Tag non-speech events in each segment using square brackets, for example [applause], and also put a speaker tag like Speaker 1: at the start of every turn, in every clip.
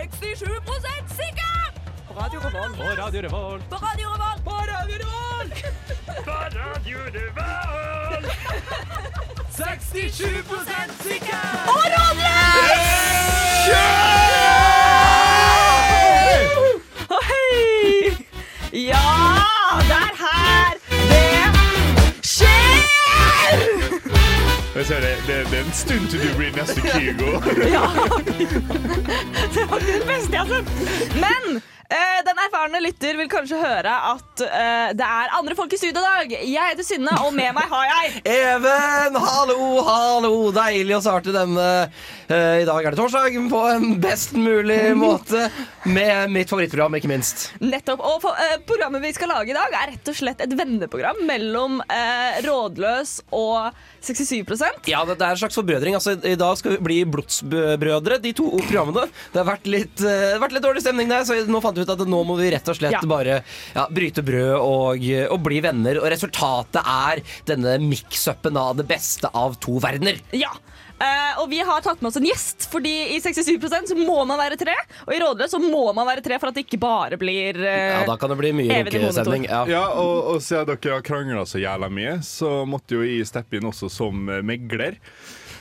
Speaker 1: 67 sikker!
Speaker 2: På Radio Revolt.
Speaker 3: På Radio Revolt.
Speaker 1: På Radio Revolt!
Speaker 2: På Radio Revolt!
Speaker 3: 67 sikker!
Speaker 1: På Radio! Hei! Ja, det er her det skjer!
Speaker 4: Jeg ser det, det, det er en stund til du blir neste Kygo.
Speaker 1: Ja, det var det beste jeg har sett. Men eh, den erfarne lytter vil kanskje høre at eh, det er andre folk i studio i dag. Jeg heter Synne, og med meg har jeg
Speaker 3: Even, hallo, hallo! Deilig å starte denne eh, I dag er det torsdag på en best [laughs] mulig måte med mitt favorittprogram, ikke minst.
Speaker 1: nettopp. Og for- eh, programmet vi skal lage i dag, er rett og slett et venneprogram mellom eh, Rådløs og 67
Speaker 3: Ja, det, det er en slags forbrødring. Altså, I dag skal vi bli blodsbrødre, de to programmene. Det har vært litt, eh, vært litt dårlig stemning der, så nå fant vi ut at nå må vi rett og slett
Speaker 1: Ja.
Speaker 3: bare ja, bryte brød og, og bli venner. Og resultatet er denne mix-upen av det beste av to verdener.
Speaker 1: Ja. Eh, og vi har tatt med oss en gjest, fordi i 67 så må man være tre. Og i Rådløs så må man være tre for at det ikke bare blir eh,
Speaker 3: Ja, da kan det bli mye
Speaker 1: Even i monitor.
Speaker 3: runkesending. Ja.
Speaker 4: [laughs] Ja, og, og siden dere har krangla så jævla mye, så måtte jo jeg steppe inn også som eh, megler.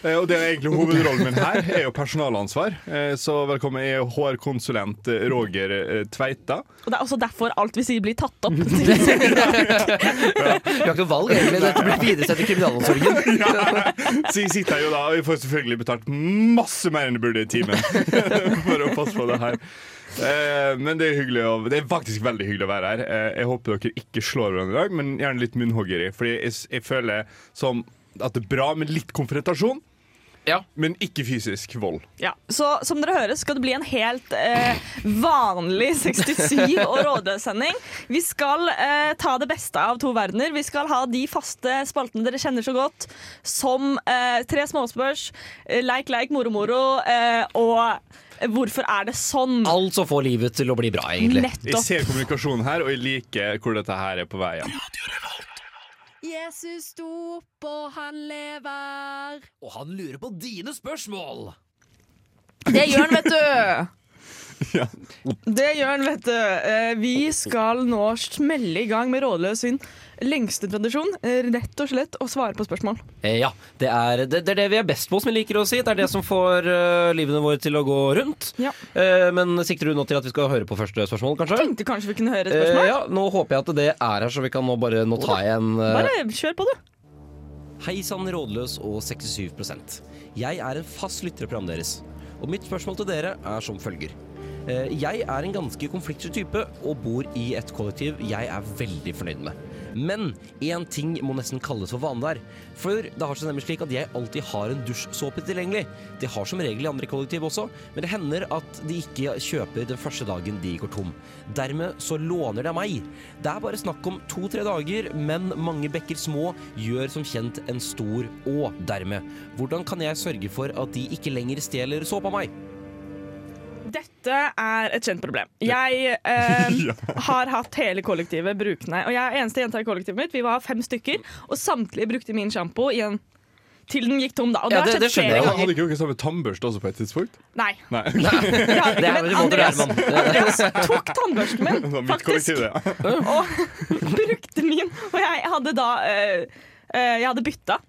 Speaker 4: Eh, Og det er egentlig Hovedrollen min her er jo personalansvar. Eh, Så velkommen. Jeg er HR-konsulent eh, Roger eh, Tveita.
Speaker 1: Og det er også derfor alt vi sier blir tatt opp. [laughs] Til
Speaker 3: Vi har ikke noe valg, egentlig. Dette blir videresendt til kriminalomsorgen.
Speaker 4: Ja. [laughs] Så jeg sitter her jo da, og jeg får selvfølgelig betalt masse mer enn jeg burde i timen [laughs] for å passe på det her. Eh, Men det er hyggelig å, Det er faktisk veldig hyggelig å være her. Eh, Jeg håper dere ikke slår hverandre i dag, men gjerne litt munnhoggeri. Fordi jeg, s- jeg føler som at det er bra med litt konfrontasjon,
Speaker 3: [laughs] Ja.
Speaker 4: men ikke fysisk vold.
Speaker 1: ja. Så som dere hører, skal det bli en helt eh, vanlig 67 og Rådløs-sending. Vi skal eh, ta det beste av to verdener. Vi skal ha de faste spaltene dere kjenner så godt, som eh, Tre småspørs, eh, Leik, leik, moro, moro eh, og Hvorfor er det sånn?
Speaker 3: Alt som får livet til å bli bra, egentlig.
Speaker 4: Jeg
Speaker 1: Nettopp.
Speaker 4: ser kommunikasjonen her, og jeg liker hvor dette her er på vei. hen.
Speaker 5: Jesus sto opp, og han lever.
Speaker 3: Og han lurer på dine spørsmål!
Speaker 1: Det gjør han, vet du.
Speaker 4: Ja.
Speaker 1: Det gjør han, vet du. Eh, Vi skal nå smelle i gang med Rådløs sin lengste tradisjon, eh, rett og slett å svare på spørsmål.
Speaker 3: Eh, Ja, det er, det, det er det vi er best på, som vi liker å si. Det er det som får eh, livene våre til å gå rundt.
Speaker 1: Ja.
Speaker 3: Eh, men sikter du nå til at vi skal høre på første spørsmål, kanskje?
Speaker 1: Tenkte kanskje vi kunne høre et
Speaker 3: Eh,
Speaker 1: spørsmål?
Speaker 3: ja, nå håper jeg at det er her, så vi kan nå bare nå ta igjen eh,
Speaker 1: Bare kjør på, du.
Speaker 3: Hei sann, rådløs og 67 Jeg er en fast lytter av programmet deres. Og mitt spørsmål til dere er som følger. Eh, Jeg er en ganske konfliktsky type og bor i et kollektiv jeg er veldig fornøyd med. Men én ting må nesten kalles for vanvær. For det har seg nemlig slik at jeg alltid har en dusjsåpe tilgjengelig. Det har som regel i andre kollektiv også, men det hender at de ikke kjøper den første dagen de går tom. Dermed så låner de av meg. Det er bare snakk om to-tre dager, men mange bekker små gjør som kjent en stor å. Dermed, hvordan kan jeg sørge for at de ikke lenger stjeler såpa av meg?
Speaker 1: Dette er et kjent problem. Jeg
Speaker 3: [laughs]
Speaker 1: eh,
Speaker 4: Ja.
Speaker 1: har hatt hele kollektivet brukende. Og jeg er eneste jenta i kollektivet mitt. Vi var fem stykker, og samtlige brukte min sjampo i en- til den gikk tom, da. Og
Speaker 3: Ja,
Speaker 1: det,
Speaker 3: det-
Speaker 1: har
Speaker 3: det
Speaker 1: skjedd
Speaker 3: skjønner
Speaker 1: flere
Speaker 3: jeg.
Speaker 4: Hadde
Speaker 1: ganger.
Speaker 4: ikke dere samme tannbørste også på et tidspunkt?
Speaker 1: Nei.
Speaker 4: Nei.
Speaker 1: Det har vi
Speaker 3: Det
Speaker 1: ikke,
Speaker 3: er
Speaker 1: men
Speaker 3: vel både
Speaker 1: Andreas,
Speaker 3: og, Herman.
Speaker 1: Andreas tok tannbørsten
Speaker 4: [laughs] Det var
Speaker 1: min,
Speaker 4: mitt
Speaker 1: faktisk.
Speaker 4: kollektiv, det.
Speaker 1: og [laughs] brukte min. Og jeg hadde da eh, eh, Jeg hadde bytta.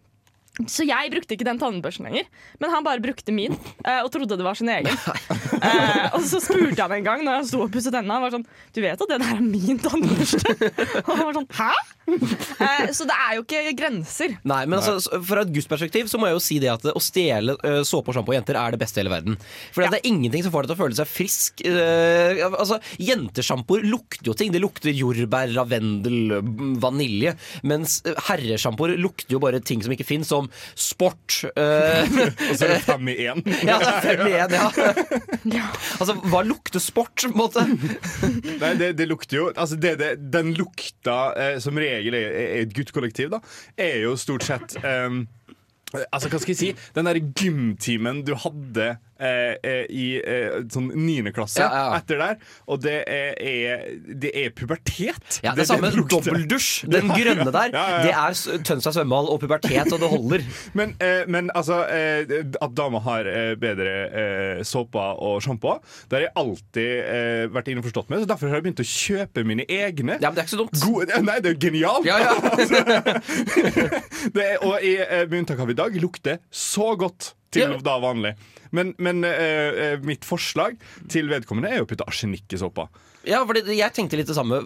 Speaker 1: Så jeg brukte ikke den tannbørsten lenger, men han bare brukte min eh, og trodde det var sin egen. Eh, og så spurte han en gang når jeg sto og pusset tenna, han var sånn Du vet at det der er min tannbørste? [laughs] Og han var sånn Hæ? Eh, så det er jo ikke grenser.
Speaker 3: Nei, men altså, s- Fra et gudsperspektiv så må jeg jo si det at å stjele ø, såpe og sjampo av jenter er det beste i hele verden. For det er ingenting som får deg til å føle seg frisk. Eh, altså, Jentesjampoer lukter jo ting. Det lukter jordbær, lavendel, m, vanilje. Mens eh, herresjampoer lukter jo bare ting som ikke fins, som sport.
Speaker 4: [laughs]
Speaker 3: eh,
Speaker 4: Og så er det fem i én.
Speaker 3: ja, det er fem i en, ja.
Speaker 1: Ja.
Speaker 3: Altså, hva lukter sport, på en måte?
Speaker 4: Nei, det, det lukter jo Altså, det, det, den lukta eh, som regel er er et guttkollektiv, da, er jo stort sett eh, Altså, hva skal jeg si? Den der gymtimen du hadde eh, eh, eh, i eh, sånn 9. klasse
Speaker 3: Ja, ja.
Speaker 4: etter der, og det er, er, det er pubertet.
Speaker 3: Ja, det er samme
Speaker 4: lukter.
Speaker 3: dobbeldusj. Den grønne der,
Speaker 4: Ja, ja, ja.
Speaker 3: det er s- Tønsberg svømmehall og pubertet, og det holder.
Speaker 4: Men, eh, men altså eh, At damer har eh, bedre eh, såper og sjampo, det har jeg alltid eh, vært innforstått med. Så Derfor har jeg begynt å kjøpe mine egne.
Speaker 3: Ja, men det er ikke så dumt.
Speaker 4: Gode, nei, det er jo genialt!
Speaker 3: Ja, ja.
Speaker 4: Det er, og i, eh, med unntak av i dag lukter så godt til
Speaker 3: Ja.
Speaker 4: da vanlig. Men, men eh, eh, mitt forslag til vedkommende er jo å putte arsenikk i såpa.
Speaker 3: ja fordi jeg tenkte litt det samme.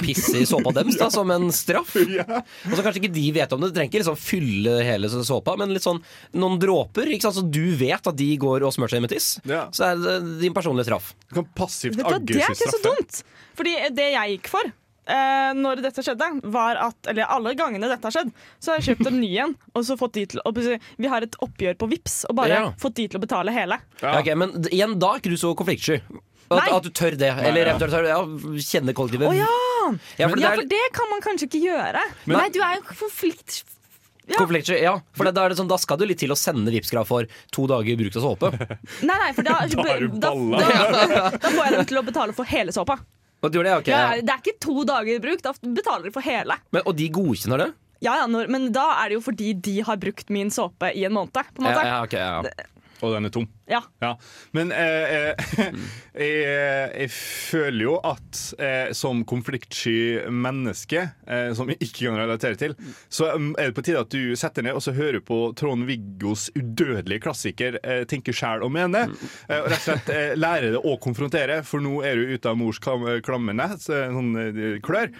Speaker 3: Pisse i såpa deres, da, som en straff.
Speaker 4: Ja.
Speaker 3: Og så kanskje ikke de vet om det. Du trenger ikke liksom fylle hele såpa, men litt sånn noen dråper. Ikke sant? Så du vet at de går og smører seg med tiss.
Speaker 4: Ja.
Speaker 3: Så er det din personlige straff.
Speaker 4: Du kan passivt
Speaker 1: Vet du hva, Det er
Speaker 4: aggressivt
Speaker 1: ikke så
Speaker 4: straffe.
Speaker 1: dumt. Fordi det jeg gikk for eh, når dette skjedde, var at Eller alle gangene dette har skjedd, så har jeg kjøpt en ny en. Og så fått de til å Vi har et oppgjør på Vips og bare
Speaker 3: Ja.
Speaker 1: fått de til å betale hele.
Speaker 3: Ja. ok, men d- igjen, da er ikke du så konfliktsky. At,
Speaker 1: Nei.
Speaker 3: at du tør det. Eller eventuelt tør, ja, kjenne kollektivet.
Speaker 1: Å ja!
Speaker 3: Ja, for det
Speaker 1: ja,
Speaker 3: er
Speaker 1: for det kan man kanskje ikke gjøre.
Speaker 4: Men-
Speaker 1: Nei, du er jo konflikt... ja.
Speaker 3: konfliktsky. Ja, for da, er det sånn, da skal du litt til å sende Vipps-krav for to dager brukt av såpe.
Speaker 1: Nei, nei, for da
Speaker 4: Da er du
Speaker 1: da,
Speaker 4: balla.
Speaker 1: da, da får jeg dem til å betale for hele såpa.
Speaker 3: Og, du gjør det, ok,
Speaker 1: Ja,
Speaker 3: ja.
Speaker 1: det er ikke to dager i bruk, da betaler de for hele.
Speaker 3: Men, og de godkjenner det?
Speaker 1: Ja, ja, når, Men da er det jo fordi de har brukt min såpe i en måned. På en
Speaker 3: Ja,
Speaker 1: måte.
Speaker 3: ja, ok, ja.
Speaker 4: Og den er tom.
Speaker 1: Ja.
Speaker 4: Ja. Men eh, [laughs] eh, jeg, jeg føler jo at eh, som konfliktsky menneske, eh, som jeg ikke kan relatere til, så mm, er det på tide at du setter ned og så hører på Trond-Viggos udødelige klassiker eh, 'Tenke sjæl og mene'. Eh, og rett og slett eh, lære det å konfrontere, for nå er du ute av mors kam klamme nett, eh, sånn eh, klør.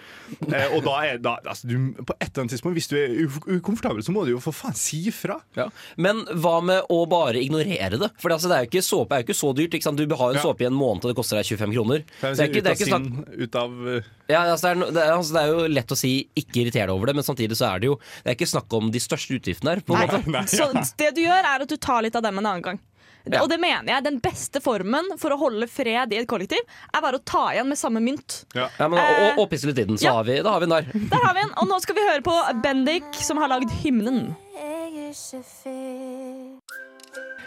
Speaker 4: Eh, og da er da, altså, du, På et eller annet tidspunkt, hvis du er uf- ukomfortabel, så må du jo for faen si ifra.
Speaker 3: Ja. Men hva med å bare ignorere det? For altså, det er jo ikke, såpe er jo ikke så dyrt. Ikke sant? Du har jo en
Speaker 4: Ja.
Speaker 3: såpe i en måned, og det koster deg 25 kroner. Det er ikke,
Speaker 4: ut
Speaker 3: det
Speaker 4: av
Speaker 3: er ikke snakk
Speaker 4: sinn, ut av eh,
Speaker 3: Ja, altså det, er, no- det, er, altså det er jo lett å si ikke irritere deg over det, men samtidig så er det jo Det er ikke snakk om de største utgiftene her. På en måte. [laughs]
Speaker 1: Så det du gjør, er at du tar litt av dem en annen gang.
Speaker 3: Ja.
Speaker 1: Og det mener jeg, Den beste formen for å holde fred i et kollektiv, er bare å ta igjen med samme mynt.
Speaker 4: ja.
Speaker 3: Ja, men, og, og, og pisse litt i den, så
Speaker 1: ja.
Speaker 3: har vi, da har vi den der.
Speaker 1: Der har vi en, Og nå skal vi høre på Bendik, som har lagd hymnen.
Speaker 6: Jeg er så fet.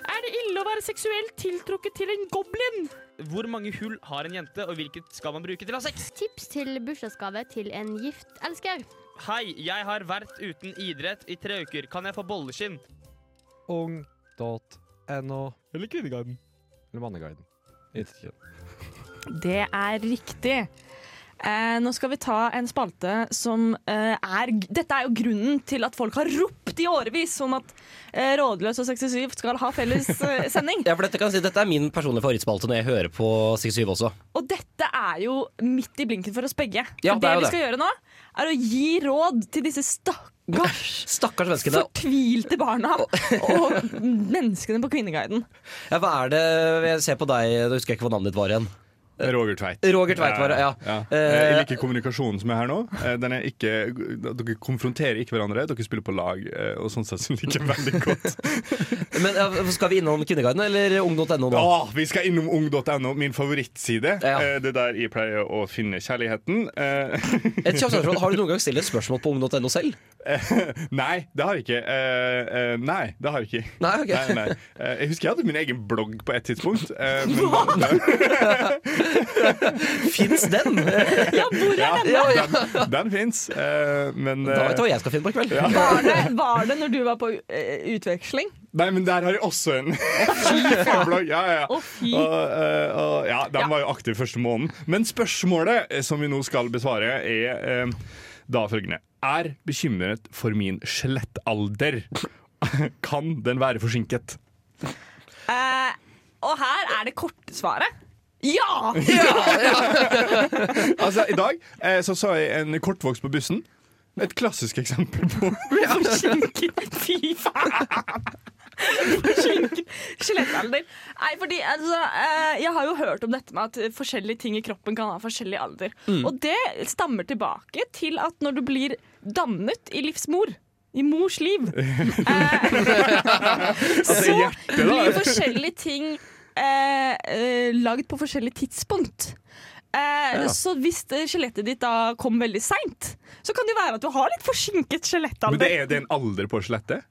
Speaker 7: Er det ille å være seksuelt tiltrukket til en goblin? Hvor mange hull har en jente, og hvilket skal man bruke til å ha sex?
Speaker 8: Tips til bursdagsgave til en gift elsker.
Speaker 7: Hei, jeg har vært uten idrett i tre uker. Kan jeg få bolleskinn?
Speaker 9: ung.no
Speaker 7: Eller Kvinneguiden.
Speaker 9: eller Manneguiden. Jeg vet ikke.
Speaker 1: Det er riktig. Eh, nå skal vi ta en spalte som eh, er Dette er jo grunnen til at folk har ropt i årevis om at eh, Rådløs og 67 skal ha felles eh, sending.
Speaker 3: Ja, for dette, kan jeg si, dette er min personlige favorittspalte når jeg hører på 67 også.
Speaker 1: Og dette er jo midt i blinken for oss begge.
Speaker 3: Ja,
Speaker 1: for
Speaker 3: det
Speaker 1: det,
Speaker 3: er jo
Speaker 1: vi
Speaker 3: det.
Speaker 1: skal gjøre nå, er å gi råd til disse stakkars
Speaker 3: Stakkars menneskene.
Speaker 1: fortvilte barna [laughs] og menneskene på Kvinneguiden.
Speaker 3: Ja, hva er det jeg ser på deg, da husker jeg ikke hva navnet ditt var igjen.
Speaker 4: eh, Roger Tveit.
Speaker 3: Roger Tveit var det, ja.
Speaker 4: Eh, Jeg
Speaker 3: Eh,
Speaker 4: liker kommunikasjonen som er her nå. Eh, Den er ikke, dere konfronterer ikke hverandre, dere spiller på lag. eh, Og sånn sett så liker jeg veldig
Speaker 3: [laughs]
Speaker 4: godt.
Speaker 3: Eh, Men ja, Skal vi innom Kvinneguiden eller ung.no nå?
Speaker 4: Åh, vi skal innom ung.no, min favorittside.
Speaker 3: Ja.
Speaker 4: Eh, Det er der jeg pleier å finne kjærligheten. Eh, [laughs]
Speaker 3: Et kjapt spørsmål, Har du noen gang stilt et spørsmål på ung.no selv?
Speaker 4: Nei, det har jeg ikke. Eh, eh, Nei, det har jeg ikke.
Speaker 3: Nei, ok.
Speaker 4: Nei, nei. Eh, Jeg husker jeg hadde min egen blogg på et tidspunkt.
Speaker 3: [laughs]
Speaker 4: eh, Men den,
Speaker 3: Fins
Speaker 4: [laughs]
Speaker 3: den?
Speaker 4: Eh,
Speaker 1: Ja, hvor er denne?
Speaker 3: Ja, ja.
Speaker 4: den, den fins. eh, Men
Speaker 3: Da vet
Speaker 4: eh,
Speaker 3: du hva jeg skal finne på i kveld.
Speaker 1: Var det, var det når du var på eh, utveksling?
Speaker 4: Nei, men der har jeg også
Speaker 3: [laughs]
Speaker 4: en [laughs] en blogg. Ja, ja, ja.
Speaker 1: Å, fy.
Speaker 4: Og, eh, og, ja, den
Speaker 1: Ja.
Speaker 4: var jo aktiv første måneden. Men spørsmålet eh, som vi nå skal besvare, er eh, da følgende. Er bekymret for min skjelettalder. [laughs] Kan den være forsinket?
Speaker 1: Eh, og her er det korte svaret. Ja!
Speaker 4: Altså, I dag eh, så, så jeg en kortvokst på bussen. Et klassisk eksempel på
Speaker 1: Forsinket. Fy faen! Forsinket. Skjelettalder. Nei, fordi altså, eh, jeg har jo hørt om dette med at forskjellige ting i kroppen kan ha forskjellig alder.
Speaker 4: Mm.
Speaker 1: Og det stammer tilbake til at når du blir dannet i livsmor i mors liv.
Speaker 4: [laughs] Altså,
Speaker 1: eh, så blir forskjellige ting eh, eh, lagd på forskjellig tidspunkt. Eh, Så hvis eh, skjelettet ditt da kom veldig seint, så kan det jo være at du har litt forsinket
Speaker 4: Men det
Speaker 1: skjelettalder.
Speaker 4: er det en alder på skjelettet?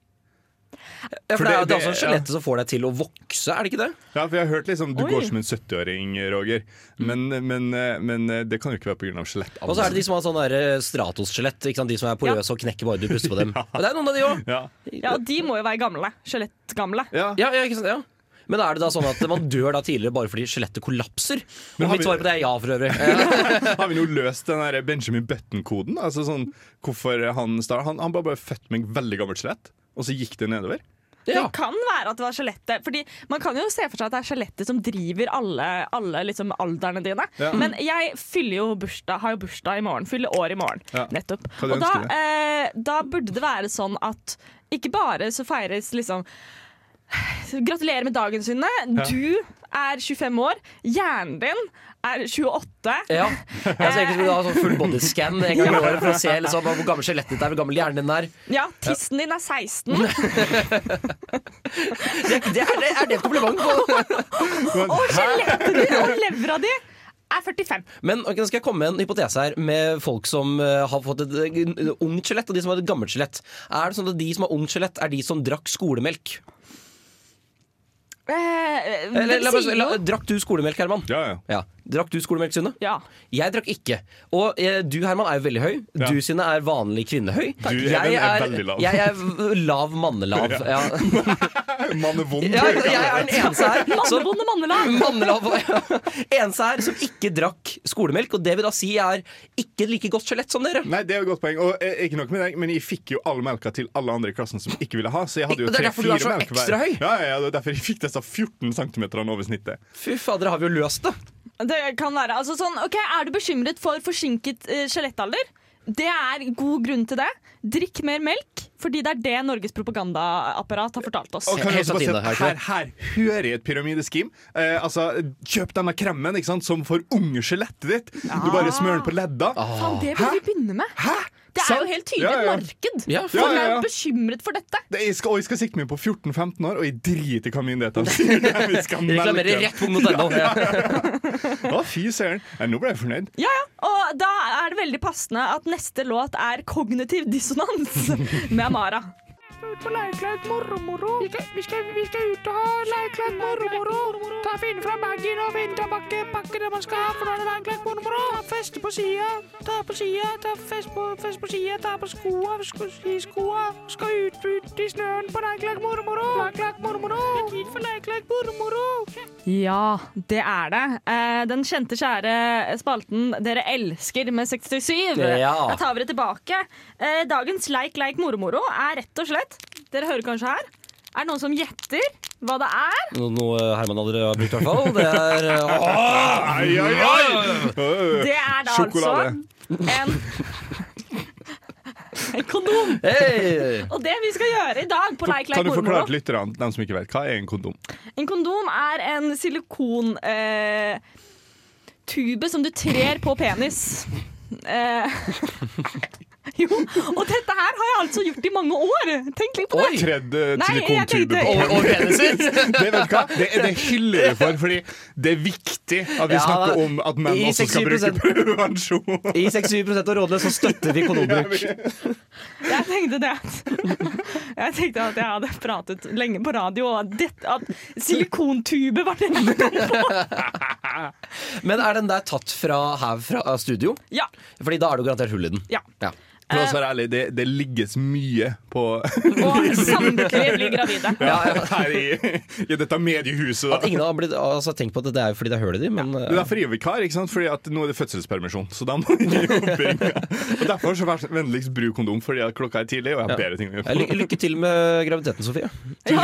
Speaker 3: Ja, for det, er-
Speaker 4: det-
Speaker 3: det er altså
Speaker 4: ja.
Speaker 3: skjelettet som får deg til å vokse, er det ikke det?
Speaker 4: Ja, for jeg har hørt liksom Du
Speaker 1: Oi.
Speaker 4: går som en 70-åring, Roger. Men, men, eh, men eh, det kan jo ikke være pga. skjelett.
Speaker 3: Og så er det de som har sånn der, eh, stratos-skjelett, ikke sant? de som er porøse og knekker bare du puster på
Speaker 4: [laughs]
Speaker 3: dem. Og det er noen av de òg.
Speaker 4: ja.
Speaker 1: Ja, og de må jo være gamle. Skjelettgamle.
Speaker 4: Ja.
Speaker 3: Ja, ja, ikke sant? Ja. Men er det da sånn at man dør da tidligere bare fordi skjelettet kollapser?
Speaker 4: Men
Speaker 3: Og
Speaker 4: har
Speaker 3: mitt
Speaker 4: vi-
Speaker 3: svar på det er ja, for øvrig.
Speaker 4: Har vi nå løst den der Benjamin Button-koden? Altså sånn, hvorfor Han star- Han, han ble bare født med en veldig gammelt skjelett, og så gikk det nedover.
Speaker 1: Det
Speaker 3: Ja.
Speaker 4: [laughs]
Speaker 1: kan være at det var skjelettet. Fordi Man kan jo se for seg at det er skjelettet som driver alle, alle liksom alderne dine.
Speaker 4: Ja.
Speaker 1: Men jeg fyller jo bursdag, har jo bursdag i morgen. Fyller år i morgen.
Speaker 4: Ja.
Speaker 1: Nettopp.
Speaker 4: Hva du
Speaker 1: Og da,
Speaker 4: ønsker
Speaker 1: eh, da burde det være sånn at ikke bare så feires liksom Gratulerer med dagen, Synne. Du er 25 år. Hjernen din er 28.
Speaker 3: Ja. Jeg ser ikke skulle ha sånn full bodyscan en gang i året for å se liksom, hvor gammel skjelettet ditt er, hvor gammel hjernen din er.
Speaker 1: Ja, tissen din er 16.
Speaker 3: Det, det er, det er det et kompliment på.
Speaker 1: Og skjelettet ditt og levra di er 45.
Speaker 3: Men ok, nå skal jeg komme med en hypotese her med folk som eh, har fått et eh, ungt skjelett, og de som har et gammelt skjelett. Er det sånn at de som har ungt skjelett, er de som drakk skolemelk?
Speaker 1: Eh,
Speaker 3: Eller,
Speaker 1: de
Speaker 3: la, meg-
Speaker 1: sier
Speaker 3: la,
Speaker 1: jo-
Speaker 3: drakk du skolemelk, Herman?
Speaker 4: Ja, ja.
Speaker 3: Ja. Drakk du skolemelk, Synne?
Speaker 1: ja.
Speaker 3: Jeg drakk ikke. Og eh, du, Herman, er jo veldig høy.
Speaker 4: Ja.
Speaker 3: Du, Synne, er vanlig kvinnehøy.
Speaker 4: Du, Even,
Speaker 3: jeg
Speaker 4: er veldig lav.
Speaker 3: Jeg er v- lav mannelav. Ja.
Speaker 4: Mann er vond.
Speaker 3: Ja, jeg er den eneste her som
Speaker 1: Mannevonde mannelag.
Speaker 3: Mannelav ja. Eneste her som ikke drakk skolemelk, og det vil da si jeg er ikke like godt skjelett som dere.
Speaker 4: Nei, det er et godt poeng. Og eh, ikke nok med deg, men jeg fikk jo all melka til alle andre i klassen som ikke ville ha. Så jeg hadde jo
Speaker 3: Det er derfor du er
Speaker 4: tre-fire
Speaker 3: så
Speaker 4: melk
Speaker 3: ekstra høy.
Speaker 4: Ja, ja, ja, det er derfor jeg fikk disse 14 cm over snittet.
Speaker 3: Fy fader, har vi jo løst det.
Speaker 1: Det kan være. Altså, sånn, ok, er du bekymret for forsinket eh, skjelettalder? Det er god grunn til det. Drikk mer melk, fordi det er det Norges propagandaapparat har fortalt oss.
Speaker 4: Og kan jeg
Speaker 3: Helt
Speaker 4: også bare si
Speaker 3: latine,
Speaker 4: at
Speaker 3: er
Speaker 4: her, her hører jeg et pyramideskim. Eh, altså, kjøp denne kremmen ikke sant, som for unge skjelettet ditt.
Speaker 3: Ah.
Speaker 4: Du bare smører den på ledda.
Speaker 1: Faen, det burde vi begynne med.
Speaker 4: Hæ?
Speaker 1: Det er
Speaker 4: Sant?
Speaker 1: jo helt tydelig
Speaker 4: Ja,
Speaker 1: et
Speaker 4: ja.
Speaker 1: marked.
Speaker 3: Ja,
Speaker 1: Folk
Speaker 4: ja, ja.
Speaker 1: er bekymret for dette.
Speaker 4: Det, jeg skal, og jeg skal sikte meg på 14-15 år, og jeg driter i hva
Speaker 1: [laughs]
Speaker 4: myndighetene sier. Vi skal melke
Speaker 3: Reklamerer
Speaker 4: den.
Speaker 3: rett på mot.no.
Speaker 4: Å, fy søren. Nei, Nå ble jeg fornøyd.
Speaker 1: Ja, ja. Og da er det veldig passende at neste låt er 'Kognitiv dissonans' [laughs] med Amara.
Speaker 7: Ut på leirkleid mormoro. Vi skal, vi, skal, vi skal ut og ha leirkleid mormoro. Ta Finne fram bagen og finne tilbake pakke det man skal ha. for da er det leirkleid mormoro. Ta feste på sida, ta på sida, ta fest på, fest på sida, ta på skoa, sko, skiskoa. Skal ut, ut i snøen på leirkleid mormoro. Leirkleid mormoro. Det er tid for leirkleid mormoro.
Speaker 1: Ja, det er det. Eh, den kjente, kjære spalten dere elsker med 67.
Speaker 3: Ja.
Speaker 1: Da tar vi det tilbake. Eh, dagens leik, leik, moromoro er rett og slett Dere hører kanskje her. Er det noen som gjetter hva det er?
Speaker 3: [laughs] Noe eh, Herman aldri har brukt, i hvert fall. Det er eh, [laughs]
Speaker 4: Ai, ai, ai!
Speaker 7: Eh,
Speaker 4: Øh.
Speaker 1: Det er da
Speaker 4: Sjokolade.
Speaker 1: altså en [laughs] En kondom.
Speaker 3: å, hey.
Speaker 1: Og det vi skal gjøre i dag på Leik,
Speaker 4: Kan
Speaker 1: leik,
Speaker 4: du forklare
Speaker 1: moromoro
Speaker 4: til lytterne, dem som ikke vet, hva er en kondom?
Speaker 1: En kondom er en silikon eh, tube som du trer på penis. Eh, [laughs] jo, og dette her har jeg altså gjort i mange år. Tenk litt på det.
Speaker 4: Tredd eh,
Speaker 1: Nei, jeg
Speaker 4: silikontube
Speaker 1: tenkte-
Speaker 4: på
Speaker 3: og, og peniser.
Speaker 4: [laughs] Det vet du hva? Det, det hyller jeg for, fordi det er viktig at vi
Speaker 3: Ja,
Speaker 4: snakker om at menn
Speaker 3: i
Speaker 4: også skal
Speaker 3: 67%
Speaker 4: bruke prevensjon.
Speaker 3: I 67 av rådene så støtter [laughs] vi kondombruk.
Speaker 1: Jeg tenkte det at [laughs] Jeg tenkte at jeg hadde pratet lenge på radio, og at, dette- at silikontube var det jeg kom på.
Speaker 3: Men er den der tatt fra her fra studio?
Speaker 1: Ja.
Speaker 3: Fordi da er det jo garantert hull i den.
Speaker 1: ja.
Speaker 3: Ja.
Speaker 4: For å være ærlig, det, det ligges mye på
Speaker 1: Og samtlige blir gravide.
Speaker 4: [laughs] her i, i dette mediehuset. Da.
Speaker 3: At ingen har blitt, altså, tenkt på at det er jo fordi det er hull i de, men eh,
Speaker 4: Det er derfor jeg er vikar, ikke sant? Fordi at nå er det fødselspermisjon. Så da må
Speaker 3: [laughs]
Speaker 4: jeg oppringe. Og derfor så vær så vennligst bruk kondom, fordi at klokka er tidlig, og jeg har bedre ting å
Speaker 3: eh,
Speaker 4: gjøre.
Speaker 3: ly- Lykke til med graviditeten, Sofie.
Speaker 1: Ja.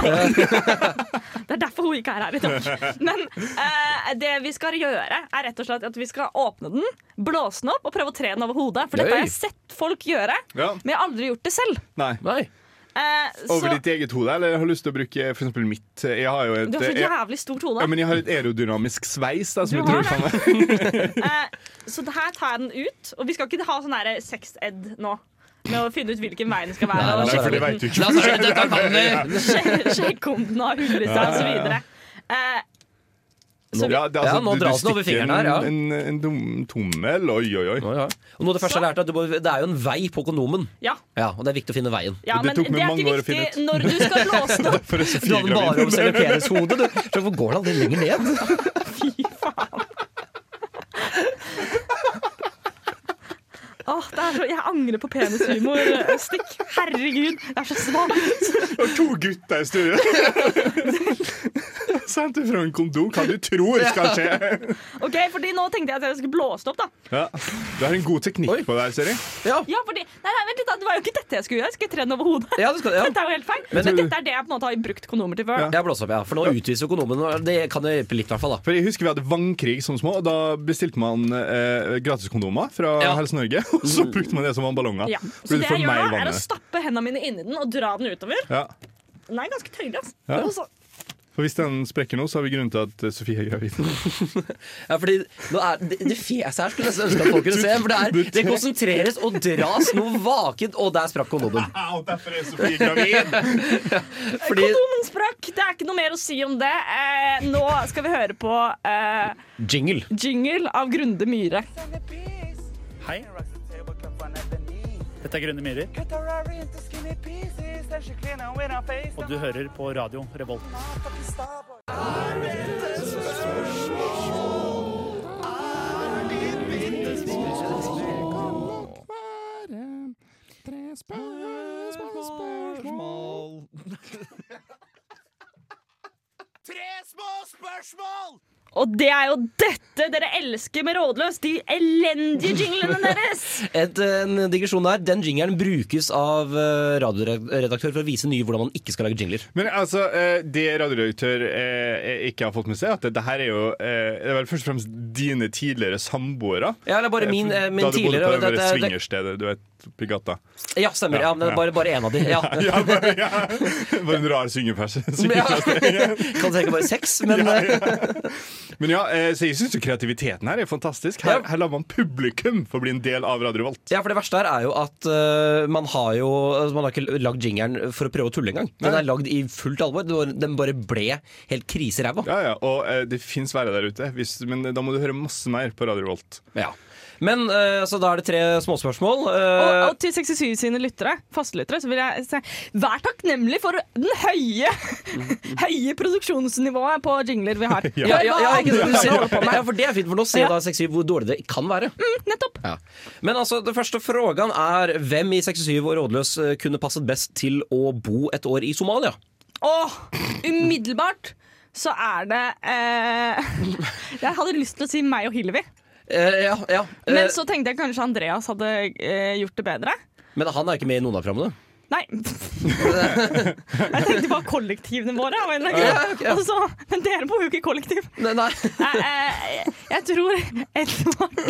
Speaker 1: Det er derfor hun ikke er her i
Speaker 4: [laughs]
Speaker 1: dag. Men eh, det vi skal gjøre, er rett og slett at vi skal åpne den, blåse den opp og prøve å tre den over hodet. For dette har jeg sett folk gjøre,
Speaker 4: Ja,
Speaker 1: men jeg har aldri gjort det selv.
Speaker 4: nei.
Speaker 3: Nei.
Speaker 1: Eh,
Speaker 4: Over
Speaker 1: så
Speaker 4: ditt eget hode, eller jeg har lyst til å bruke for eksempel mitt Jeg har jo et
Speaker 1: du har så
Speaker 4: jeg,
Speaker 1: jævlig stort
Speaker 4: ja,
Speaker 1: hode.
Speaker 4: men jeg har et aerodynamisk sveis, da,
Speaker 1: Du
Speaker 4: som jeg tror
Speaker 1: har
Speaker 4: kan
Speaker 1: Eh, så det her tar jeg den ut, og vi skal ikke ha sånn her sex-ed nå. Med å finne ut hvilken vei den skal være.
Speaker 3: Nei,
Speaker 1: og
Speaker 3: nei,
Speaker 4: Nei,
Speaker 1: sjekke
Speaker 4: for det
Speaker 1: den.
Speaker 4: vet du ikke.
Speaker 3: La oss gjøre
Speaker 1: [laughs]
Speaker 3: dette, kan vi!
Speaker 1: Eh, Sjekk om den har hull i seg, osv. Så vi,
Speaker 4: Ja, det, altså-
Speaker 3: Ja, nå
Speaker 4: du- du
Speaker 3: dras den over
Speaker 4: stikker
Speaker 3: fingeren her, ja.
Speaker 4: En, en, en dum- tommel, oi, oi, oi.
Speaker 3: Ja, ja. Og noe av det første jeg lærte, er at du må, det er jo en vei på kondomen.
Speaker 1: ja,
Speaker 3: Ja, Og det er viktig å finne veien.
Speaker 1: ja,
Speaker 4: Det
Speaker 1: men
Speaker 4: tok meg
Speaker 1: det er
Speaker 4: mange
Speaker 1: ikke
Speaker 4: år å finne
Speaker 1: viktig når du skal låse
Speaker 4: [laughs]
Speaker 1: den opp.
Speaker 4: For det er så
Speaker 3: Du hadde
Speaker 4: firegravid.
Speaker 3: bare om Seleperes hode, du. Så Hvorfor går det aldri lenger ned?
Speaker 1: Åh, det er så, jeg angrer på penishumor. Stikk. Herregud, det er så svakt.
Speaker 4: Og to gutter i studio. [laughs] Sendt fra en kondom. Hva du tror skal skje?
Speaker 1: Ok, fordi nå tenkte jeg at jeg skulle blåse det opp, da.
Speaker 4: Ja. Du har en god teknikk på det her, ser jeg.
Speaker 1: Ja, fordi, nei, nei, vent litt, da. Det var jo ikke dette jeg skulle gjøre. Jeg skulle tre den over hodet.
Speaker 3: Ja, det
Speaker 1: [laughs]
Speaker 3: skal, ja.
Speaker 1: Dette er jo helt feil. Men, dette er det jeg på en måte har brukt kondomer til før.
Speaker 3: Ja, blås opp, ja. For nå utviser økonomen, og det kan jo hjelpe litt, i hvert fall. da
Speaker 4: For jeg husker Vi hadde vannkrig som små. og Da bestilte man eh, gratiskondomer fra
Speaker 3: Ja.
Speaker 4: Helse Norge. [laughs] Og så brukte man det som ballonga.
Speaker 1: Ja.
Speaker 4: Fordi
Speaker 1: Så det
Speaker 4: får
Speaker 1: jeg gjør
Speaker 4: mer
Speaker 1: nå,
Speaker 4: vann i
Speaker 1: er å
Speaker 4: det.
Speaker 1: stappe hendene mine inni den og dra den utover.
Speaker 4: ja.
Speaker 1: Den er ganske tøyelig, altså.
Speaker 4: Ja.
Speaker 1: Og så-
Speaker 4: For hvis den sprekker nå, så har vi grunn til at eh, Sofie er gravid.
Speaker 3: Ja, fordi nå er, det, det fjeset her skulle jeg nesten ønske at folk kunne se. For det, er, det konsentreres og dras noe vakent, og der sprakk kondomen.
Speaker 4: Au, derfor er Sofie gravid!
Speaker 3: Fordi
Speaker 1: Kondomen sprakk! Det er ikke noe mer å si om det. Eh, nå skal vi høre på eh,
Speaker 3: Jingle.
Speaker 1: jingle av Grunde Myhre.
Speaker 10: Dette er Grønne myrer, og du hører på radio Revolt.
Speaker 1: Og det er jo dette dere elsker med Rådløs! De elendige jinglene deres!
Speaker 3: Et, en digresjon der. Den jingelen brukes av eh, radioredaktør for å vise nye hvordan man ikke skal lage jingler.
Speaker 4: [laughs] Men altså, eh, det radiodirektør eh, ikke har fått med seg, at det, det her er jo eh, Det er vel først og fremst dine tidligere samboere.
Speaker 3: Ja, eller bare min, eh, min
Speaker 4: da du
Speaker 3: tidligere
Speaker 4: bodde på det,
Speaker 3: det-
Speaker 4: det,
Speaker 3: det- det-
Speaker 4: swingerstedet du vet, oppi gata. [laughs]
Speaker 3: Ja, stemmer. Ja, men det er bare, bare en av de. Ja.
Speaker 4: Ja, bare, ja. [laughs] bare en rar syngeperse.
Speaker 3: [laughs] Ja. [laughs] Kan tenke bare seks, men eh,
Speaker 4: Men ja, eh, så jeg syns kreativiteten her er fantastisk. Her,
Speaker 3: Ja.
Speaker 4: her lar man publikum få bli en del av Radio Volt.
Speaker 3: Ja, for det verste her er jo at eh, man har jo altså, Man har ikke lagd jingeren for å prøve å tulle engang. Den er lagd i fullt alvor. Det var- Den bare ble helt kriseræva.
Speaker 4: Ja, ja, Og eh, det fins verre der ute, hvis, men eh, da må du høre masse mer på Radio Volt.
Speaker 3: Ja. Men eh, så da er det tre
Speaker 1: [laughs]
Speaker 3: småspørsmål.
Speaker 1: Og,
Speaker 3: Eh,
Speaker 1: og til 67 sine lyttere, fastlyttere, så vil jeg si vær takknemlig for den høye, [laughs] høye produksjonsnivået på jingler vi har.
Speaker 3: ja, ja, ja, ikke,
Speaker 1: Hør hva andre
Speaker 3: sant, du
Speaker 1: holder på
Speaker 3: ser,
Speaker 1: med.
Speaker 3: ja, for det er fint, for nå ser
Speaker 1: Ja. Mm.
Speaker 3: da 67 hvor dårlig det kan være.
Speaker 1: Nettopp.
Speaker 3: Ja. Men altså, det første frågan er hvem i 67 og rådløs eh, kunne passet best til å bo et år i Somalia?
Speaker 1: Og umiddelbart så er det eh, [laughs] Jeg hadde lyst til å si meg og Hillevi,
Speaker 3: Eh, ja, ja. Eh,
Speaker 1: men så tenkte jeg kanskje Andreas hadde eh, gjort det bedre.
Speaker 3: men han er ikke med i noen av programmene. [laughs]
Speaker 1: Nei. Jeg tenkte bare kollektivene våre. av en eller annen grunn.
Speaker 3: Ja, ok.
Speaker 1: Og så- Men dere bor jo ikke i kollektiv.
Speaker 3: Nei, nei.
Speaker 1: Jeg, jeg, jeg tror Edvard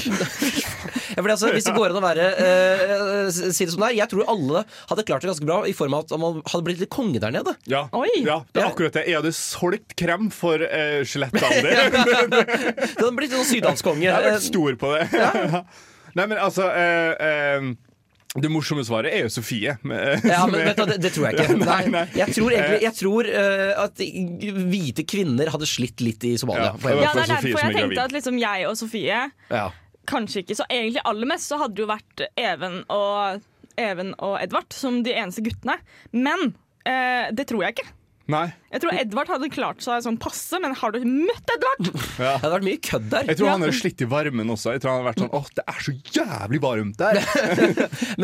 Speaker 3: Ja, fordi altså, hvis det går an å være eh, eh, Si det som det er, jeg tror alle hadde klart det ganske bra i form av at man hadde blitt litt konge der nede.
Speaker 4: Ja,
Speaker 1: Oi.
Speaker 4: ja det er
Speaker 3: Ja.
Speaker 4: akkurat det. Jeg hadde solgt krem for eh, [laughs] skjelettandel.
Speaker 3: Det hadde blitt en sånn sydlandskonge.
Speaker 4: Jeg har vært
Speaker 3: Eh,
Speaker 4: stor på [laughs] det. [laughs] Nei, men altså eh, eh, Det morsomme svaret er jo Sofie. eh,
Speaker 3: Ja, men vet du, hva, det, det tror jeg ikke.
Speaker 4: [laughs] Nei, nei.
Speaker 3: Jeg tror egentlig jeg tror, eh, at hvite kvinner hadde slitt litt i Somalia.
Speaker 4: Ja,
Speaker 3: på en
Speaker 1: Ja,
Speaker 4: for
Speaker 1: det er
Speaker 4: Sofie
Speaker 1: derfor
Speaker 4: som
Speaker 1: jeg
Speaker 4: er gravid.
Speaker 1: tenkte at liksom jeg og Sofie
Speaker 3: måte. Ja.
Speaker 1: Kanskje ikke så egentlig aller mest Så hadde det jo vært Even og, Even og Edvard Som de eneste guttene Men eh, det tror jeg ikke
Speaker 4: [laughs] Nei.
Speaker 1: Jeg tror Edvard hadde klart seg sånn passe Men har du møtt Edvard?
Speaker 3: Det hadde vært mye kødd der.
Speaker 4: Jeg tror han hadde slitt i varmen også. Jeg tror han hadde vært sånn åh, det er så jævlig varmt der.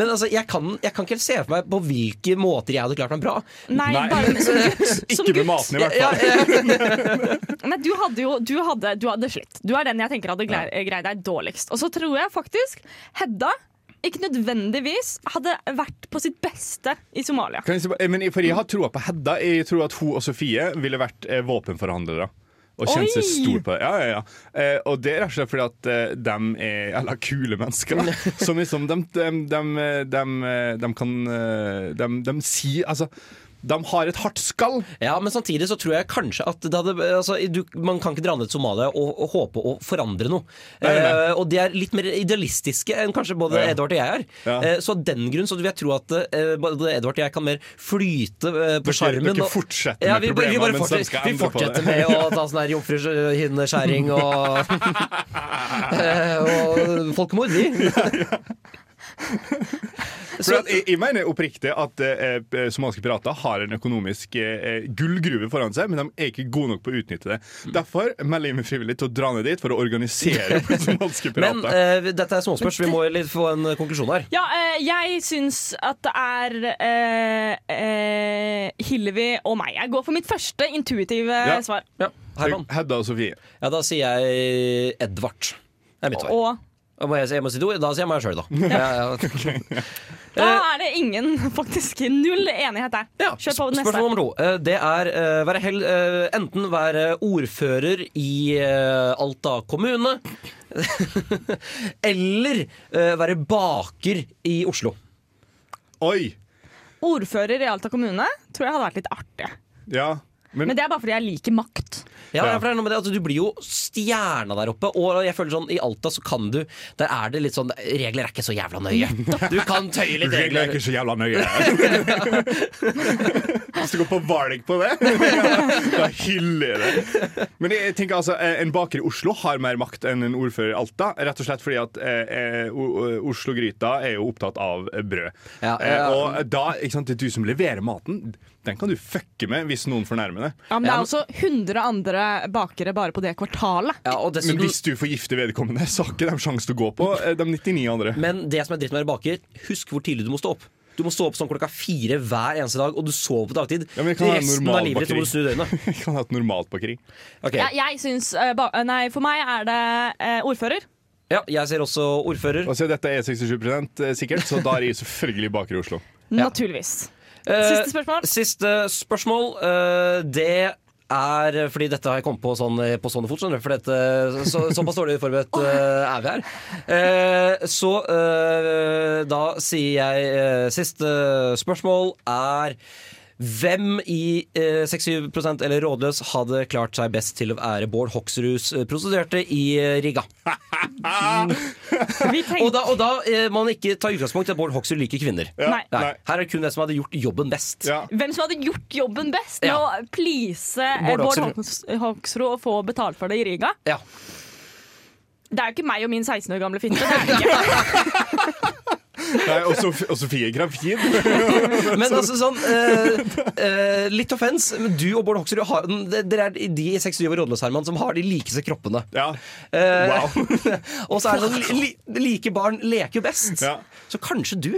Speaker 3: Men altså, jeg kan, jeg kan ikke helt se for meg på hvilke måter jeg hadde klart meg bra.
Speaker 1: Nei,
Speaker 4: Nei.
Speaker 1: bare med, som gutt,
Speaker 4: [laughs]
Speaker 1: som
Speaker 4: Ikke med
Speaker 1: gutt.
Speaker 4: maten, i hvert
Speaker 3: Ja,
Speaker 4: fall.
Speaker 3: eh,
Speaker 1: Nei, du hadde jo du hadde, du hadde slitt Du er den jeg tenker hadde glei- greid deg dårligst Og så tror jeg faktisk Hedda ikke nødvendigvis hadde vært på sitt beste i Somalia
Speaker 4: Kan jeg si, bare- eh, men jeg- for jeg har troa på Hedda. Jeg tror at hun og Sofie ville vært eh, våpenforhandlere. Og kjent seg
Speaker 1: Oi!
Speaker 4: stor på det. Ja, ja, ja. Eh, og det er rett og slett fordi at eh, de er eller kule
Speaker 3: [laughs]
Speaker 4: mennesker. da. eh, Som liksom De, de, de, de, de kan eh, De, de eh, sier Altså De har et hardt skall.
Speaker 3: Ja, men samtidig så tror jeg kanskje at det hadde, altså, du, Man kan ikke dra ned til Somalia og, og håpe å forandre noe.
Speaker 4: Nei, nei, nei.
Speaker 3: Eh, og de er litt mer idealistiske enn kanskje både
Speaker 4: Ja.
Speaker 3: Edvard og jeg er.
Speaker 4: Ja.
Speaker 3: Eh, så av den grunn så vil jeg tro at eh, både Edvard og jeg kan mer flyte eh, på
Speaker 4: Dere- dere
Speaker 3: skjermen. og-
Speaker 4: fortsetter
Speaker 3: ja,
Speaker 4: med
Speaker 3: vi, bare- vi
Speaker 4: problemene,
Speaker 3: bare
Speaker 4: mens de skal
Speaker 3: fortsetter, vi
Speaker 4: endre på
Speaker 3: fortsetter
Speaker 4: det.
Speaker 3: med å ta sånn her jomfruhinneskjæring
Speaker 4: [laughs]
Speaker 3: og, eh, og folkemord, vi.
Speaker 4: For at jeg, jeg mener oppriktig at eh, eh, somaliske pirater har en økonomisk eh, eh, gullgruve foran seg, men de er ikke gode nok på å utnytte det. Derfor melder jeg meg frivillig til å dra ned dit for å
Speaker 3: [laughs]
Speaker 4: organisere somaliske
Speaker 3: Men
Speaker 4: pirater.
Speaker 3: eh, dette er småspørsmål, vi må litt få en eh, konklusjon her.
Speaker 1: Ja, eh, jeg syns at det er eh, eh, Hillevi og meg. Jeg går for mitt første intuitive
Speaker 4: Ja.
Speaker 1: svar.
Speaker 3: Herman.
Speaker 4: Hedda og Sofie.
Speaker 3: Ja, da sier jeg Edvard. Det er mitt svar.
Speaker 1: Og
Speaker 3: Og må jeg, jeg må si to, da sier jeg meg sjøl, da. Ja, ja.
Speaker 1: da er det ingen, [laughs] faktisk. Null enighet der.
Speaker 3: Eh. Ja,
Speaker 1: Kjør på
Speaker 3: sp-
Speaker 1: neste.
Speaker 3: Spørsmål nummer to. Eh, Det er eh, være hel, eh, enten være ordfører i eh, Alta kommune, [laughs] eller eh, være baker i Oslo.
Speaker 4: Oi!
Speaker 1: Ordfører i Alta kommune tror jeg hadde vært litt artig.
Speaker 3: Mm.
Speaker 4: Ja. Men,
Speaker 1: Men det er bare fordi jeg liker makt.
Speaker 3: Ja,
Speaker 4: Ja.
Speaker 3: for det er noe med det, altså, Du blir jo stjerna der oppe. Og jeg føler sånn, I Alta så kan du Der er det litt sånn Regler er ikke så jævla nøye. Du kan tøye litt
Speaker 4: regler er
Speaker 3: regler.
Speaker 4: ikke så jævla nøye. Hvis du går på valg på det, da hyller jeg det. Men jeg tenker altså, eh, en baker i Oslo har mer makt enn en ordfører i Alta. Rett og slett fordi at eh, eh, O- O- Oslo-gryta er jo opptatt av eh, brød.
Speaker 3: Ja, ja.
Speaker 4: Eh, og da, ikke sant, det er du som leverer maten. Den kan du fucke med hvis noen fornærmer deg.
Speaker 1: Ja, men det er også 100 andre bakere bare på det kvartalet.
Speaker 3: Ja, og
Speaker 4: Men
Speaker 3: dessuten,
Speaker 4: hvis du forgifter vedkommende, så har ikke de sjanse til å gå på eh, de 99 andre. [laughs]
Speaker 3: Men det som er dritt med å være baker, husk hvor tidlig du må stå opp. Du må stå opp sånn klokka fire hver eneste dag, og du sover på dagtid.
Speaker 4: Ja, men jeg kan ha
Speaker 3: Resten
Speaker 4: normal
Speaker 3: av livet ditt må
Speaker 4: bakeri.
Speaker 3: du snu døgnet.
Speaker 4: Vi kan ha et normalt bakeri.
Speaker 3: Ok.
Speaker 1: Ja, jeg syns eh, ba Nei, for meg er det eh, ordfører.
Speaker 3: Ja, jeg ser også ordfører.
Speaker 4: Og så dette er 67 sikkert, så da er jeg selvfølgelig baker i Oslo.
Speaker 1: Naturligvis.
Speaker 3: Eh,
Speaker 1: Siste spørsmål.
Speaker 3: Siste spørsmål. eh, det er fordi dette har jeg kommet på sånn, eh, på sånne fot, skjønner du. For dette, så, såpass dårlig forberedt eh, er vi her. Eh, så eh, da sier jeg eh, Siste spørsmål er hvem i eh, 67 eller rådløs hadde klart seg best til å være Bård Hoksruds eh, prostituerte i eh, Riga?
Speaker 1: Vi
Speaker 3: Og
Speaker 1: tenkte
Speaker 3: da, og da eh, må man ikke ta utgangspunkt i at Bård Hoksrud liker kvinner.
Speaker 1: Nei.
Speaker 3: Nei. Her er det kun den som hadde gjort jobben best.
Speaker 4: Ja.
Speaker 1: Hvem som hadde gjort jobben best med
Speaker 3: Ja.
Speaker 1: å please eh,
Speaker 3: Bård
Speaker 1: Bård
Speaker 3: Hoksrud.
Speaker 1: Hoks- Hoksrud og få betalt for det i Riga?
Speaker 3: Ja.
Speaker 1: Det er jo ikke meg og min 16 år gamle finte. Det er det
Speaker 3: [laughs]
Speaker 1: ikke.
Speaker 4: Nei, og, Sof og Sofie er gravid.
Speaker 3: [laughs] Men altså sånn eh, eh, Litt offens, men du og Bård Hoksrud har, d- Dere er de i 67 og rådløs Herman som har de likeste kroppene.
Speaker 4: Ja.
Speaker 3: Eh,
Speaker 4: Wow.
Speaker 3: og så er det sånn li, li- Like barn leker best.
Speaker 4: Ja.
Speaker 3: Så kanskje du.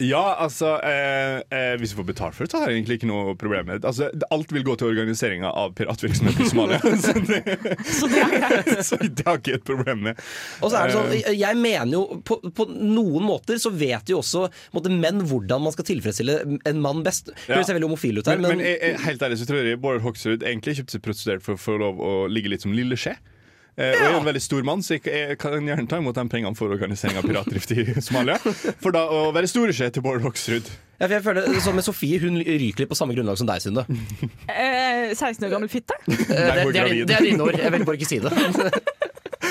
Speaker 4: ja, altså eh, eh, Hvis vi får betalt for det, så har jeg egentlig ikke noe problem med det. Altså, det- alt vil gå til organiseringa av piratvirksomheten i
Speaker 3: [laughs]
Speaker 4: Somalia. så det, [laughs] så det har jeg ikke et problem med.
Speaker 3: Og så er det sånn, jeg- jeg mener jo På, på noen måter så vet jo også på en måte, menn hvordan man skal tilfredsstille en mann best.
Speaker 4: Ja.
Speaker 3: Høres jeg veldig homofil ut her,
Speaker 4: Men,
Speaker 3: men,
Speaker 4: men jeg, jeg, helt ærlig så tror jeg Bård Hoksrud egentlig kjøpte seg prostituert for å få lov å ligge litt som lille skje. Eh, Og jeg er en veldig stor mann, så jeg, jeg kan gjerne ta imot de pengene for organisering av piratdrift i Somalia. For da å være store skje til Bård Hoksrud.
Speaker 3: ja, for jeg føler sånn med Sofie hun ryker litt på samme grunnlag som deg, Synne. Eh,
Speaker 1: Eh, 16 år gammel fitte?
Speaker 4: Der
Speaker 3: Det,
Speaker 4: går
Speaker 3: det, er, din-
Speaker 4: gravid.
Speaker 3: det er dine ord. Jeg vil bare ikke si det.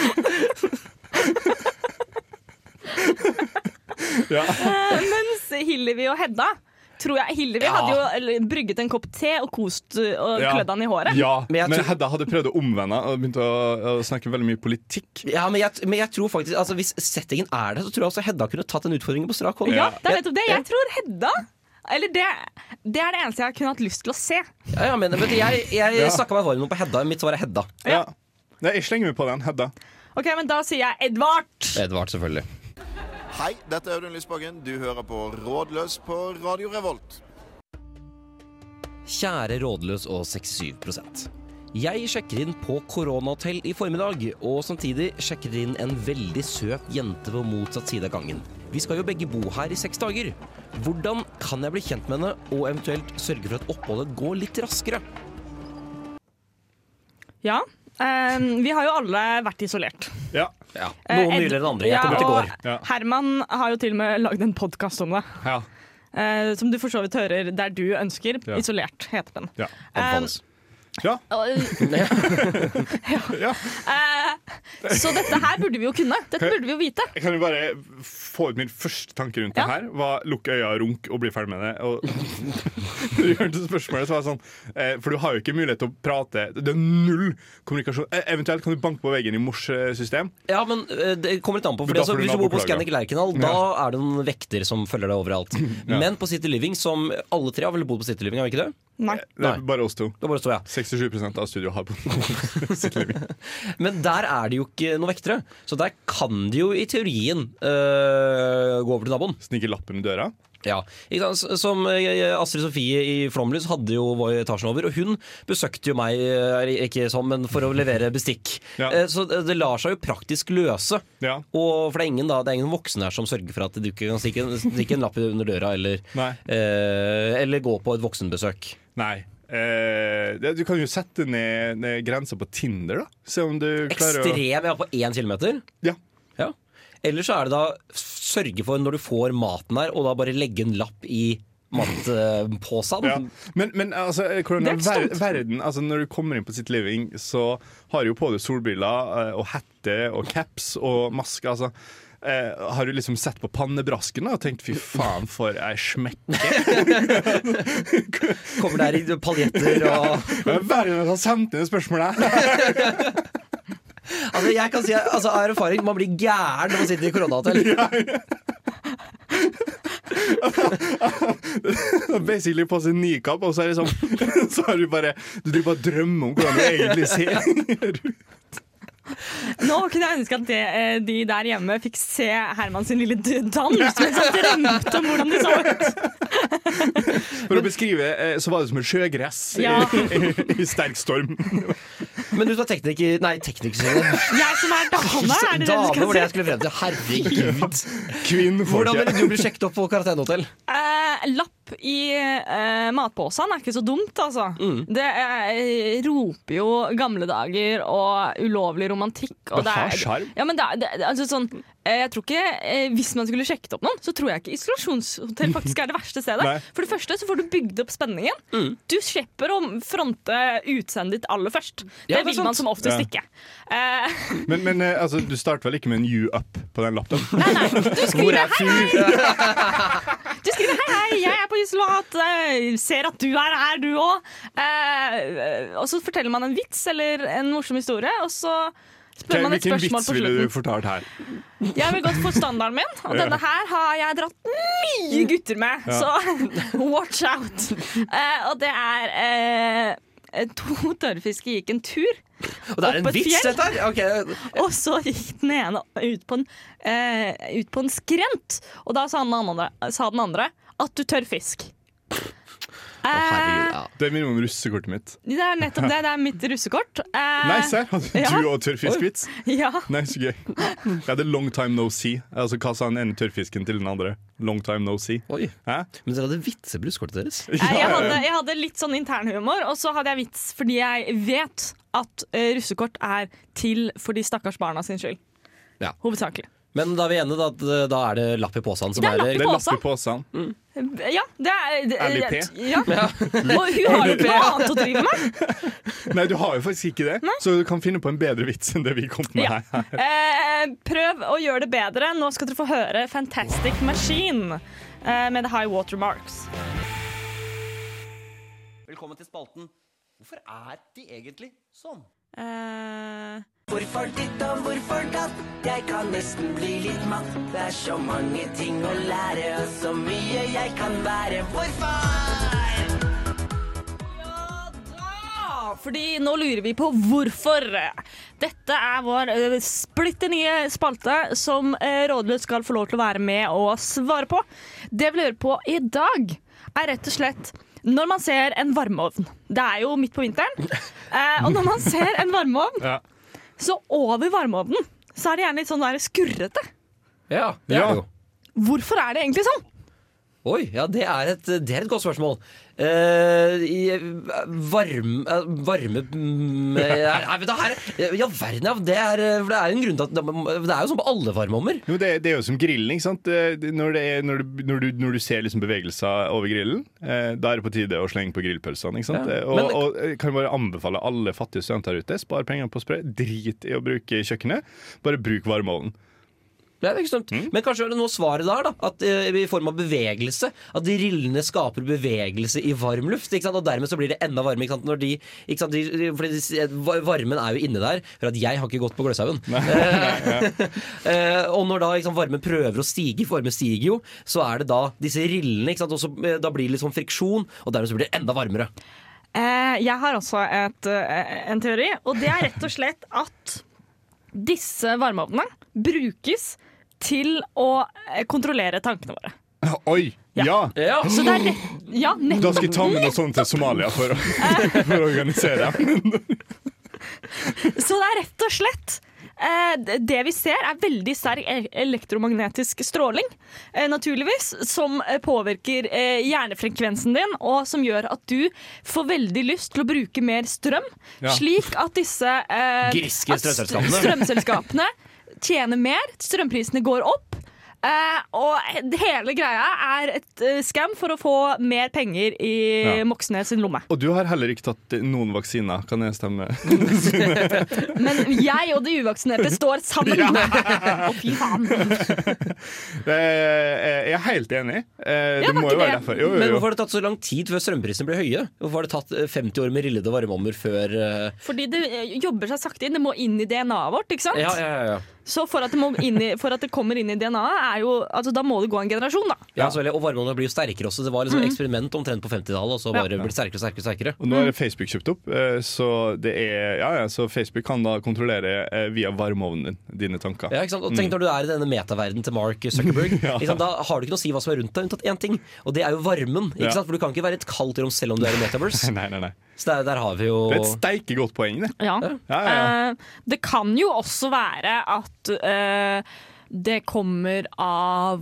Speaker 4: Ja.
Speaker 1: Eh, mens Hillevi og Hedda tror jeg Hillevi
Speaker 3: Ja.
Speaker 1: hadde jo eller, brygget en kopp te og kost eh, og
Speaker 4: Ja.
Speaker 1: klødd han i håret.
Speaker 4: Ja,
Speaker 3: Men jeg
Speaker 4: men
Speaker 3: tror-
Speaker 4: Hedda hadde prøvd å omvende og begynt å, å snakke veldig mye politikk.
Speaker 3: Ja, men jeg, men jeg tror faktisk altså, Hvis settingen er der, så tror jeg også Hedda kunne tatt den utfordringen på strak hånd.
Speaker 1: Ja, det er nettopp det. Jeg tror Hedda Eller det, det er det eneste jeg kunne hatt lyst til å se.
Speaker 3: Ja, ja, men, vet du, jeg jeg
Speaker 4: Ja.
Speaker 3: snakka meg varm på Hedda. Mitt svar er Hedda.
Speaker 4: Ja. Nei, jeg slenger meg på den. Hedda.
Speaker 1: Ok, men Da sier jeg Edvard.
Speaker 3: Edvard, selvfølgelig.
Speaker 11: Hei, dette er Audun Lysbakken. Du hører på Rådløs på Radio Revolt.
Speaker 3: Kjære rådløs og 67 Jeg sjekker inn på koronahotell i formiddag, og samtidig sjekker det inn en veldig søt jente på motsatt side av gangen. Vi skal jo begge bo her i seks dager. Hvordan kan jeg bli kjent med henne, og eventuelt sørge for at oppholdet går litt raskere?
Speaker 1: Ja. eh, vi har jo alle vært isolert.
Speaker 4: Ja.
Speaker 1: Eh,
Speaker 3: Noen
Speaker 1: Ed-
Speaker 3: nyligere enn andre. Jeg kom ut i
Speaker 1: og
Speaker 3: går.
Speaker 4: Ja.
Speaker 1: Herman har jo til og med lagd en podkast om det.
Speaker 4: Ja.
Speaker 1: eh, som du for så vidt hører der du ønsker.
Speaker 4: Ja.
Speaker 1: Isolert, heter den.
Speaker 4: Ja.
Speaker 1: Anbefales.
Speaker 4: Ja.
Speaker 1: Eh, så dette her burde vi jo kunne. Dette burde vi jo vite.
Speaker 4: Jeg kan jo bare få ut min første tanke rundt
Speaker 1: Ja.
Speaker 4: det her. Var lukk øya, runk og bli ferdig med det. Og [laughs] når du hørte spørsmålet, så var det sånn eh, For du har jo ikke mulighet til å prate. Det er null kommunikasjon. Eh, Eventuelt kan du banke på veggen i mors eh, system.
Speaker 3: Ja, men eh, det kommer litt an på.
Speaker 4: Men
Speaker 3: Fordi,
Speaker 4: da
Speaker 3: altså,
Speaker 4: får du
Speaker 3: hvis du bor på
Speaker 4: naboklag, ja.
Speaker 3: Scandic Lerkendal, da er det noen vekter som følger deg
Speaker 4: [laughs]
Speaker 3: overalt. Men på City Living, som alle tre har vel bodd på City Living, har vi ikke det?
Speaker 1: Nei.
Speaker 4: Det er bare oss to.
Speaker 3: Det er bare å stå, ja.
Speaker 4: 67 av studio har på
Speaker 3: Men der er det jo ikke noen vektere, så der kan de jo i teorien øh, gå over til naboen.
Speaker 4: Snike lappen i døra?
Speaker 3: Ja. Ikke sant? S- Som øh, Astrid Sofie i Flåmlys hadde jo vår etasjen over, og hun besøkte jo meg øh, ikke sånn, men for å levere bestikk. Eh, Så det det lar seg jo praktisk løse. Og for det er ingen da, det er ingen voksne her som sørger for at du ikke kan stikke, en- stikke en lapp under døra eller, eh, eller gå på et voksenbesøk.
Speaker 4: Nei. Eh, det, du kan jo sette ned, ned grensa på Tinder, da. Se om du klarer
Speaker 3: Ekstrem, ja, på én kilometer?
Speaker 4: Ja.
Speaker 3: Eller så er det da sørge for når du får maten her, og da bare legge en lapp i matposen.
Speaker 4: Ja. Men, men altså, eh, hvordan
Speaker 3: Mm. Det er
Speaker 4: er
Speaker 3: stunt.
Speaker 4: ver verden altså, Når du kommer inn på sitt living, så har du jo på deg solbriller eh, og hette og caps og maske. Altså. Eh, har du liksom sett på pannebrasken da, og tenkt 'fy faen, for ei smekke'?
Speaker 3: Kommer der i paljetter
Speaker 1: [laughs]
Speaker 3: og
Speaker 4: Ja, Verden har sendt inn det spørsmålet [laughs] her!
Speaker 3: Altså, jeg kan si, altså, av erfaring, man blir gæren når man sitter i koronahotell.
Speaker 4: Basically på seg nikab, og så er det sånn [laughs] Så har du bare Du driver bare og drømmer om hvordan du egentlig ser ut.
Speaker 1: Nå kunne jeg ønske at de, eh, de der hjemme fikk se Herman sin lille d- dans mens han drømte om hvordan de så ut.
Speaker 4: For å beskrive, eh, så var det som et sjøgress i-
Speaker 1: Ja.
Speaker 4: [laughs] i, i sterk storm.
Speaker 3: Men du tar tekniker... Nei, teknikersynet.
Speaker 1: Jeg som er dame, er det det du
Speaker 3: Dame,
Speaker 1: skal
Speaker 3: hvor det jeg
Speaker 1: si?
Speaker 3: skulle frem til. Herregud. Hvordan
Speaker 4: [laughs] Kvinnfolket.
Speaker 3: ville du bli sjekket opp på karantenehotell?
Speaker 1: Eh, lapp i eh, matposen er ikke så dumt, altså. Det eh, roper jo gamle dager og ulovlig romantikk. Og
Speaker 4: Det har
Speaker 1: er-
Speaker 4: sjarm.
Speaker 1: Ja, men det er, det, det- altså, sånn, eh, jeg tror ikke, eh, hvis man skulle sjekket opp noen, så tror jeg ikke isolasjonshotell faktisk er det verste stedet.
Speaker 4: Nei.
Speaker 1: For det første så får du bygd opp spenningen. Du slipper å fronte utseendet ditt aller først.
Speaker 4: Ja,
Speaker 1: det
Speaker 4: det er
Speaker 1: vil man
Speaker 4: sant.
Speaker 1: som oftest
Speaker 4: Ja.
Speaker 1: ikke. Eh,
Speaker 4: Men, men eh, altså, du starter vel ikke med en you up på den lappen?
Speaker 1: du
Speaker 4: Hvor
Speaker 1: skriver
Speaker 4: er fyr?
Speaker 1: Du skriver 'hei, hei, jeg er på isolat', eh, ser at du er her, du òg. Eh, og så forteller man en vits eller en morsom historie, og så spør man et
Speaker 4: Hvilken
Speaker 1: spørsmål
Speaker 4: vits
Speaker 1: på
Speaker 4: ville du
Speaker 1: slutten.
Speaker 4: fortalt her?
Speaker 1: Jeg vil godt få standarden min, og
Speaker 4: Ja.
Speaker 1: denne her har jeg dratt mye gutter med,
Speaker 4: Ja.
Speaker 1: så [laughs] watch out. Eh, og det er eh, To tørrfisker gikk en tur.
Speaker 3: Og det er en
Speaker 1: Opp et
Speaker 3: vits,
Speaker 1: fjell.
Speaker 3: dette her! Ok.
Speaker 1: Og så gikk den ene ut på en, eh, ut på en skrent, og da sa den andre, sa den andre at du tør fisk. Eh,
Speaker 4: Det minner om russekortet mitt.
Speaker 1: det er nettopp det. Det er mitt russekort. Eh,
Speaker 4: Nei, serr! Hadde
Speaker 1: ja.
Speaker 4: du og tørrfiskvits?
Speaker 1: [laughs] Ja.
Speaker 4: Nei, så gøy. Jeg hadde long time no see. Altså, hva sa den ene tørrfisken til den andre? Long time no see.
Speaker 3: Oi.
Speaker 4: Hæ?
Speaker 3: Men dere hadde vitsebruskortet deres.
Speaker 1: Eh, Jeg hadde, jeg hadde litt sånn internhumor, og så hadde jeg vits fordi jeg vet at eh, russekort er til for de stakkars barna sin skyld.
Speaker 3: Ja.
Speaker 1: Hovedsakelig.
Speaker 3: Men da er vi enige da, at eh, da er det lapp i posen som
Speaker 1: Det er
Speaker 3: er
Speaker 1: lapp i
Speaker 4: Det er lapp i posen.
Speaker 1: Ja, det er det-
Speaker 4: LIP?
Speaker 1: Ja. Og hun har jo ikke noe annet å drive med. Mm.
Speaker 4: Nei, du har jo faktisk ikke det, så du kan finne på en bedre vits enn det vi kom med
Speaker 1: Ja.
Speaker 4: her.
Speaker 1: Eh, prøv å gjøre det bedre. Nå skal dere få høre Fantastic Machine eh, med The High Watermarks.
Speaker 3: Velkommen til spalten Hvorfor er de egentlig sånn?
Speaker 1: Eh,
Speaker 12: Hvorfor ditt og hvorfor datt? Jeg kan nesten bli litt matt. Det er så mange ting å lære, og så mye jeg kan være. Hvorfor?
Speaker 1: Ja, Ah, Fordi nå lurer vi på hvorfor. Dette er vår eh, splitter nye spalte som eh, Rådløs skal få lov til å være med og svare på. Det vi lurer på i dag, er rett og slett når man ser en varmeovn. Det er jo midt på vinteren. Eh, og når man ser en varmeovn,
Speaker 4: Ja.
Speaker 1: så over varmeovnen så er det gjerne litt sånn der skurrete.
Speaker 3: Ja, det er det jo.
Speaker 1: Hvorfor er det egentlig sånn?
Speaker 3: Oi, ja, det er et, det er et godt spørsmål. Eh, i- varme eh, Varme mm, eh, Nei, vet du, her Ja, verden, ja. Det er, eh, for det er jo en grunn til at Det er jo sånn på alle varmeovner.
Speaker 4: Jo, det, det er jo som grillen, ikke sant? Eh, det- Når, det er, når, du, når, du, når du ser liksom bevegelser over grillen, eh, da er det på tide å slenge på grillpølsene. Ikke sant?
Speaker 3: Ja.
Speaker 4: Eh, Og,
Speaker 3: Men-
Speaker 4: og jeg kan bare anbefale alle fattige studenter der ute, spar penger på spray, drit i å bruke kjøkkenet, bare bruk varmeovnen.
Speaker 3: Det er ikke dumt. Men kanskje er det noe svaret der, da? At, eh, I form av bevegelse. At grillene skaper bevegelse i varm luft. Ikke sant? Og dermed så blir det enda varme. Ikke sant? Når de, ikke sant? De, fordi de, sier- va- varmen er jo inne der. For at jeg har ikke gått på Gløshaugen. [laughs] Eh, og når da ikke sant, varmen prøver å stige, for varmen stiger jo, så er det da disse rillene. Ikke sant? Og så, eh, da blir det litt sånn friksjon, og dermed så blir det enda varmere.
Speaker 1: Eh, jeg har også et, eh, en teori, og det er rett og slett at disse varmeovnene brukes til å eh, kontrollere tankene våre.
Speaker 4: [laughs] Oi! Ja!
Speaker 1: Så det er rett, ja,
Speaker 3: Eh.
Speaker 1: nettopp,
Speaker 4: Da skal jeg ta med noe sånt til Somalia for å, [laughs] for å [laughs] organisere.
Speaker 1: Så det er rett og slett eh, d- det vi ser er veldig sterk e- elektromagnetisk stråling, eh, naturligvis, som eh, påvirker eh, hjernefrekvensen din, og som gjør at du får veldig lyst til å bruke mer strøm,
Speaker 3: Ja.
Speaker 1: slik at disse eh,
Speaker 3: Griske
Speaker 1: at st-
Speaker 3: strømselskapene.
Speaker 1: strømselskapene tjener mer, strømprisene går opp, eh, og hele greia er et eh, skam for å få mer penger i
Speaker 4: Ja.
Speaker 1: Moxnes sin lomme.
Speaker 4: Og du har heller ikke tatt noen vaksiner, kan jeg stemme?
Speaker 1: Men jeg og de uvaksinerte står
Speaker 3: [laughs]
Speaker 1: sammen. Å, fy faen.
Speaker 4: [laughs] Eh, eh, Jeg er helt enig. Eh, Det må jo være derfor. Jo,
Speaker 3: Men hvorfor
Speaker 4: jo, jo.
Speaker 3: har det tatt så lang tid før strømprisene ble høye? Hvorfor har det tatt eh, 50 år med rillede varmeovner før eh,
Speaker 1: Fordi det eh, jobber seg sakte inn. Det må inn i DNA-et vårt. ikke sant?
Speaker 3: Ja, ja, ja, ja.
Speaker 1: Så for at, det må inn i, for at det kommer inn i DNA-et, er jo, altså, da må det gå en generasjon, da.
Speaker 3: Ja, så veldig, Og varmeovnene blir jo sterkere også. Det var liksom
Speaker 1: Mhm.
Speaker 3: eksperiment omtrent på 50-tallet, og så
Speaker 1: Ja.
Speaker 3: bare blir det sterkere og sterkere. og sterkere.
Speaker 4: Og nå er Facebook kjøpt opp, eh, så, det er, ja, ja, så Facebook kan da kontrollere eh, via varmeovnen din dine tanker.
Speaker 3: Ja, ikke sant? Og tenk
Speaker 4: Mm.
Speaker 3: når du er i denne metaverdenen til Mark Zuckerberg.
Speaker 4: Ja.
Speaker 3: ikke sant? Da har du ikke noe å si hva som er rundt deg, unntatt én ting, og det er jo varmen. Ikke
Speaker 4: Ja.
Speaker 3: sant? For du kan ikke være i et kaldt rom selv om du er i Metaverse.
Speaker 4: [laughs] [laughs] nei, nei, nei.
Speaker 3: Så der, der har vi jo
Speaker 4: Det er et steike godt poeng, det.
Speaker 1: Ja.
Speaker 4: Ja, ja,
Speaker 1: Eh, det kan jo også være at eh, det kommer av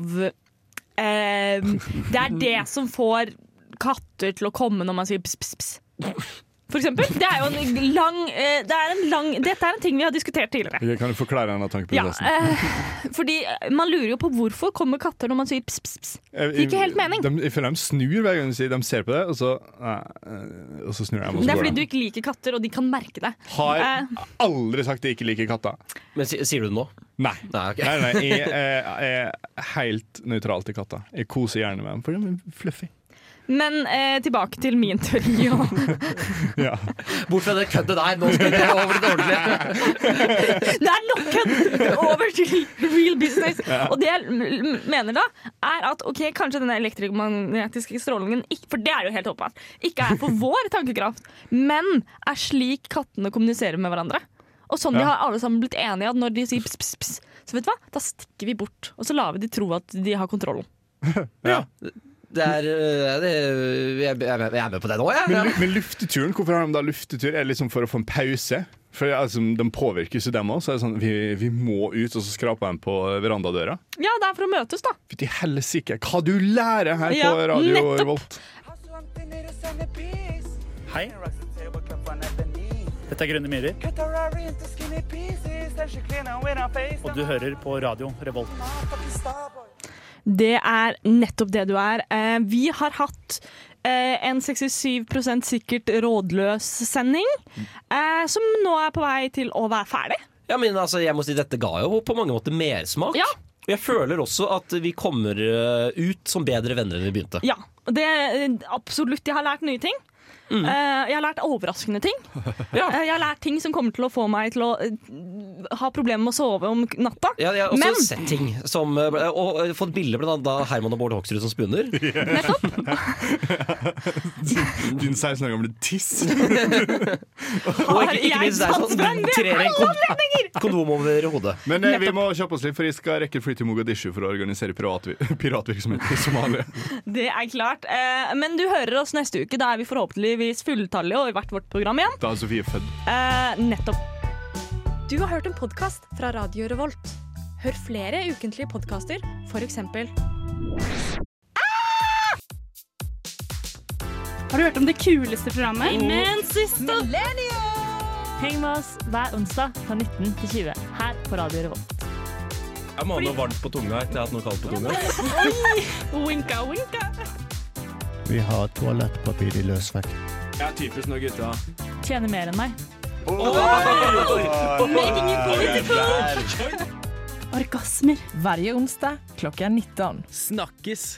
Speaker 1: eh, Det er det som får katter til å komme når man sier pss, pss, pss. For eksempel. Det er jo en lang, eh, det er en lang Dette er en ting vi har diskutert tidligere.
Speaker 4: Jeg kan jo forklare denne
Speaker 1: Ja,
Speaker 4: tankeprosessen.
Speaker 1: eh, [laughs] fordi eh, man lurer jo på hvorfor kommer katter når man sier pss, pss, pss. Det gir ikke helt mening.
Speaker 4: Eh, De, jeg føler de snur hver gang de sier de ser på det, og så, nei, eh, og så snur de. og så
Speaker 1: Det er
Speaker 4: går
Speaker 1: fordi
Speaker 4: de.
Speaker 1: du ikke liker katter, og de kan merke det.
Speaker 4: Har
Speaker 1: Eh,
Speaker 4: aldri sagt jeg ikke liker katter.
Speaker 3: Men sier du det nå?
Speaker 4: Nei.
Speaker 3: Nei,
Speaker 4: nei, nei, jeg eh, er helt nøytral til katter. Jeg koser gjerne med dem, for de er fluffy.
Speaker 1: men eh, tilbake til min teori. [laughs] og-
Speaker 4: Ja.
Speaker 3: Bort fra det køddet der, nå skal det over i det ordentlige.
Speaker 1: Det er nok kødd! [laughs] Over til real business.
Speaker 3: Ja.
Speaker 1: Og det jeg m- mener da, er at ok, kanskje denne elektromagnetiske strålingen ikke, For det er jo helt åpenbart. Ikke er for vår tankekraft, men er slik kattene kommuniserer med hverandre. Og sånn de
Speaker 3: Ja.
Speaker 1: har alle sammen blitt enige at når de sier pss, pss, pss, så vet du hva, da stikker vi bort. Og så lar vi de tro at de har kontrollen.
Speaker 3: Det er, eh, det, jeg, jeg, jeg er med på det nå, jeg.
Speaker 4: Men, lu- men lufteturen, hvorfor har de da luftetur? Er det liksom for å få en pause? For altså, De påvirkes jo, dem òg. Så er det sånn, vi, vi må ut, og så skraper de på verandadøra.
Speaker 1: Ja, det er for å møtes, da.
Speaker 4: Fytti helsike, hva du lærer her
Speaker 1: Ja,
Speaker 4: på Radio
Speaker 1: nettopp.
Speaker 4: Revolt!
Speaker 10: Hei. Dette er Grønne myrer, og du hører på Radio Revolt.
Speaker 1: Det er nettopp det du er. Eh, vi har hatt eh, en 67 sikkert rådløs sending, eh, som nå er på vei til å være ferdig.
Speaker 3: Ja, men altså, jeg må si Dette ga jo på mange måter mersmak.
Speaker 1: Ja.
Speaker 3: Og Jeg føler også at vi kommer eh, ut som bedre venner enn vi begynte.
Speaker 1: Ja, og det eh, absolutt. Jeg har lært nye ting.
Speaker 3: Mm.
Speaker 1: Eh, jeg har lært overraskende [laughs] ting. Eh, jeg har lært ting som kommer til å få meg til å eh, ha problemer med å sove om k- natta.
Speaker 3: Ja, jeg har også
Speaker 1: Men-
Speaker 3: sett ting som eh, ble- Og eh, fått bilder blant annet av Herman og Bård Hoksrud som spunner.
Speaker 4: Din 16 år gamle
Speaker 1: [laughs]
Speaker 4: tiss.
Speaker 3: og ikke, ikke minst det er sånn du trer en kon kondom over hodet.
Speaker 4: Men eh, vi må kjappe oss litt, for jeg skal rekke fly til Mogadishu for å organisere piratvi- piratvirksomhet i Somalia.
Speaker 1: Det er klart. Eh, men du hører oss neste uke. Da er vi forhåpentligvis fulltallige og i hvert vårt program igjen.
Speaker 4: Da er Sofie født.
Speaker 1: Eh, nettopp.
Speaker 13: Du har hørt en podkast fra Radio Revolt. Hør flere ukentlige podkaster, f.eks.
Speaker 1: Har du hørt om det kuleste programmet?
Speaker 5: Amen,
Speaker 1: søster!
Speaker 5: Mm. Heng med oss hver onsdag fra 19 til 20 her på Radio Revolt.
Speaker 4: Jeg må ha noe varmt på tunga etter jeg har hatt noe kaldt på tunga.
Speaker 1: winka, winka.
Speaker 14: Vi har toalettpapir i løsvekt.
Speaker 15: Jeg er typisk når gutta
Speaker 5: Tjener mer enn meg.
Speaker 1: Making it political! Orgasmer.
Speaker 16: Varje onsdag klockan 19. Snackis.